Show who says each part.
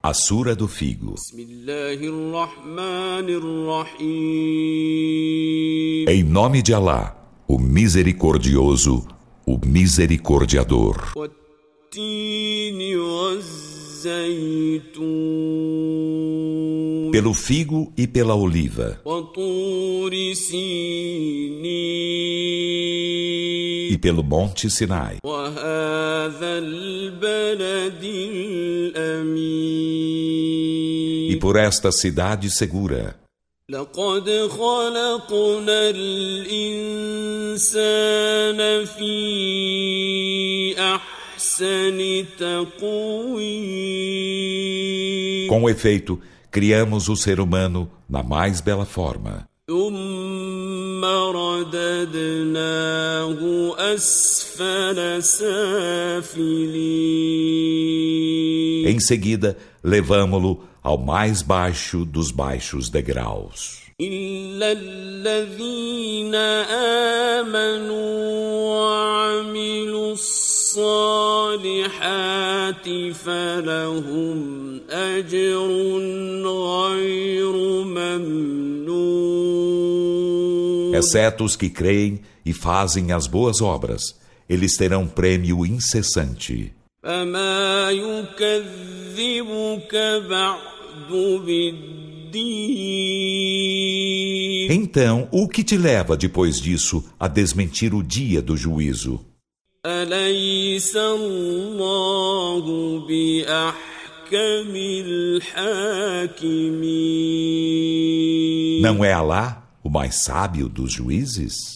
Speaker 1: A Sura do Figo,
Speaker 2: بسم الله الرحمن الرحيم
Speaker 1: em nome de Alá, o misericordioso, o misericordiador,
Speaker 2: والتين والزيتون
Speaker 1: pelo figo e pela oliva,
Speaker 2: وطور
Speaker 1: e
Speaker 2: سينين
Speaker 1: pelo monte Sinai,
Speaker 2: وهذا البلد الأمين
Speaker 1: e por esta cidade segura.
Speaker 2: لقد خلقنا الإنسان في أحسن تقويم
Speaker 1: Com efeito, criamos o ser humano na mais bela forma,
Speaker 2: ثم رددناه أسفل سافلين
Speaker 1: em seguida, levámo-lo ao mais baixo dos baixos degraus.
Speaker 2: إلا الذين آمنوا وعملوا الصالحات فلهم أجر غير ممنون
Speaker 1: Exceto os que creem e fazem as boas obras, eles terão prêmio incessante.
Speaker 2: فما يكذبك بعد بالدين
Speaker 1: Então, o que te leva depois disso a desmentir o dia do juízo?
Speaker 2: أليس الله بأحكم الحاكمين
Speaker 1: نعم. Não é Alá o mais sábio dos juízes?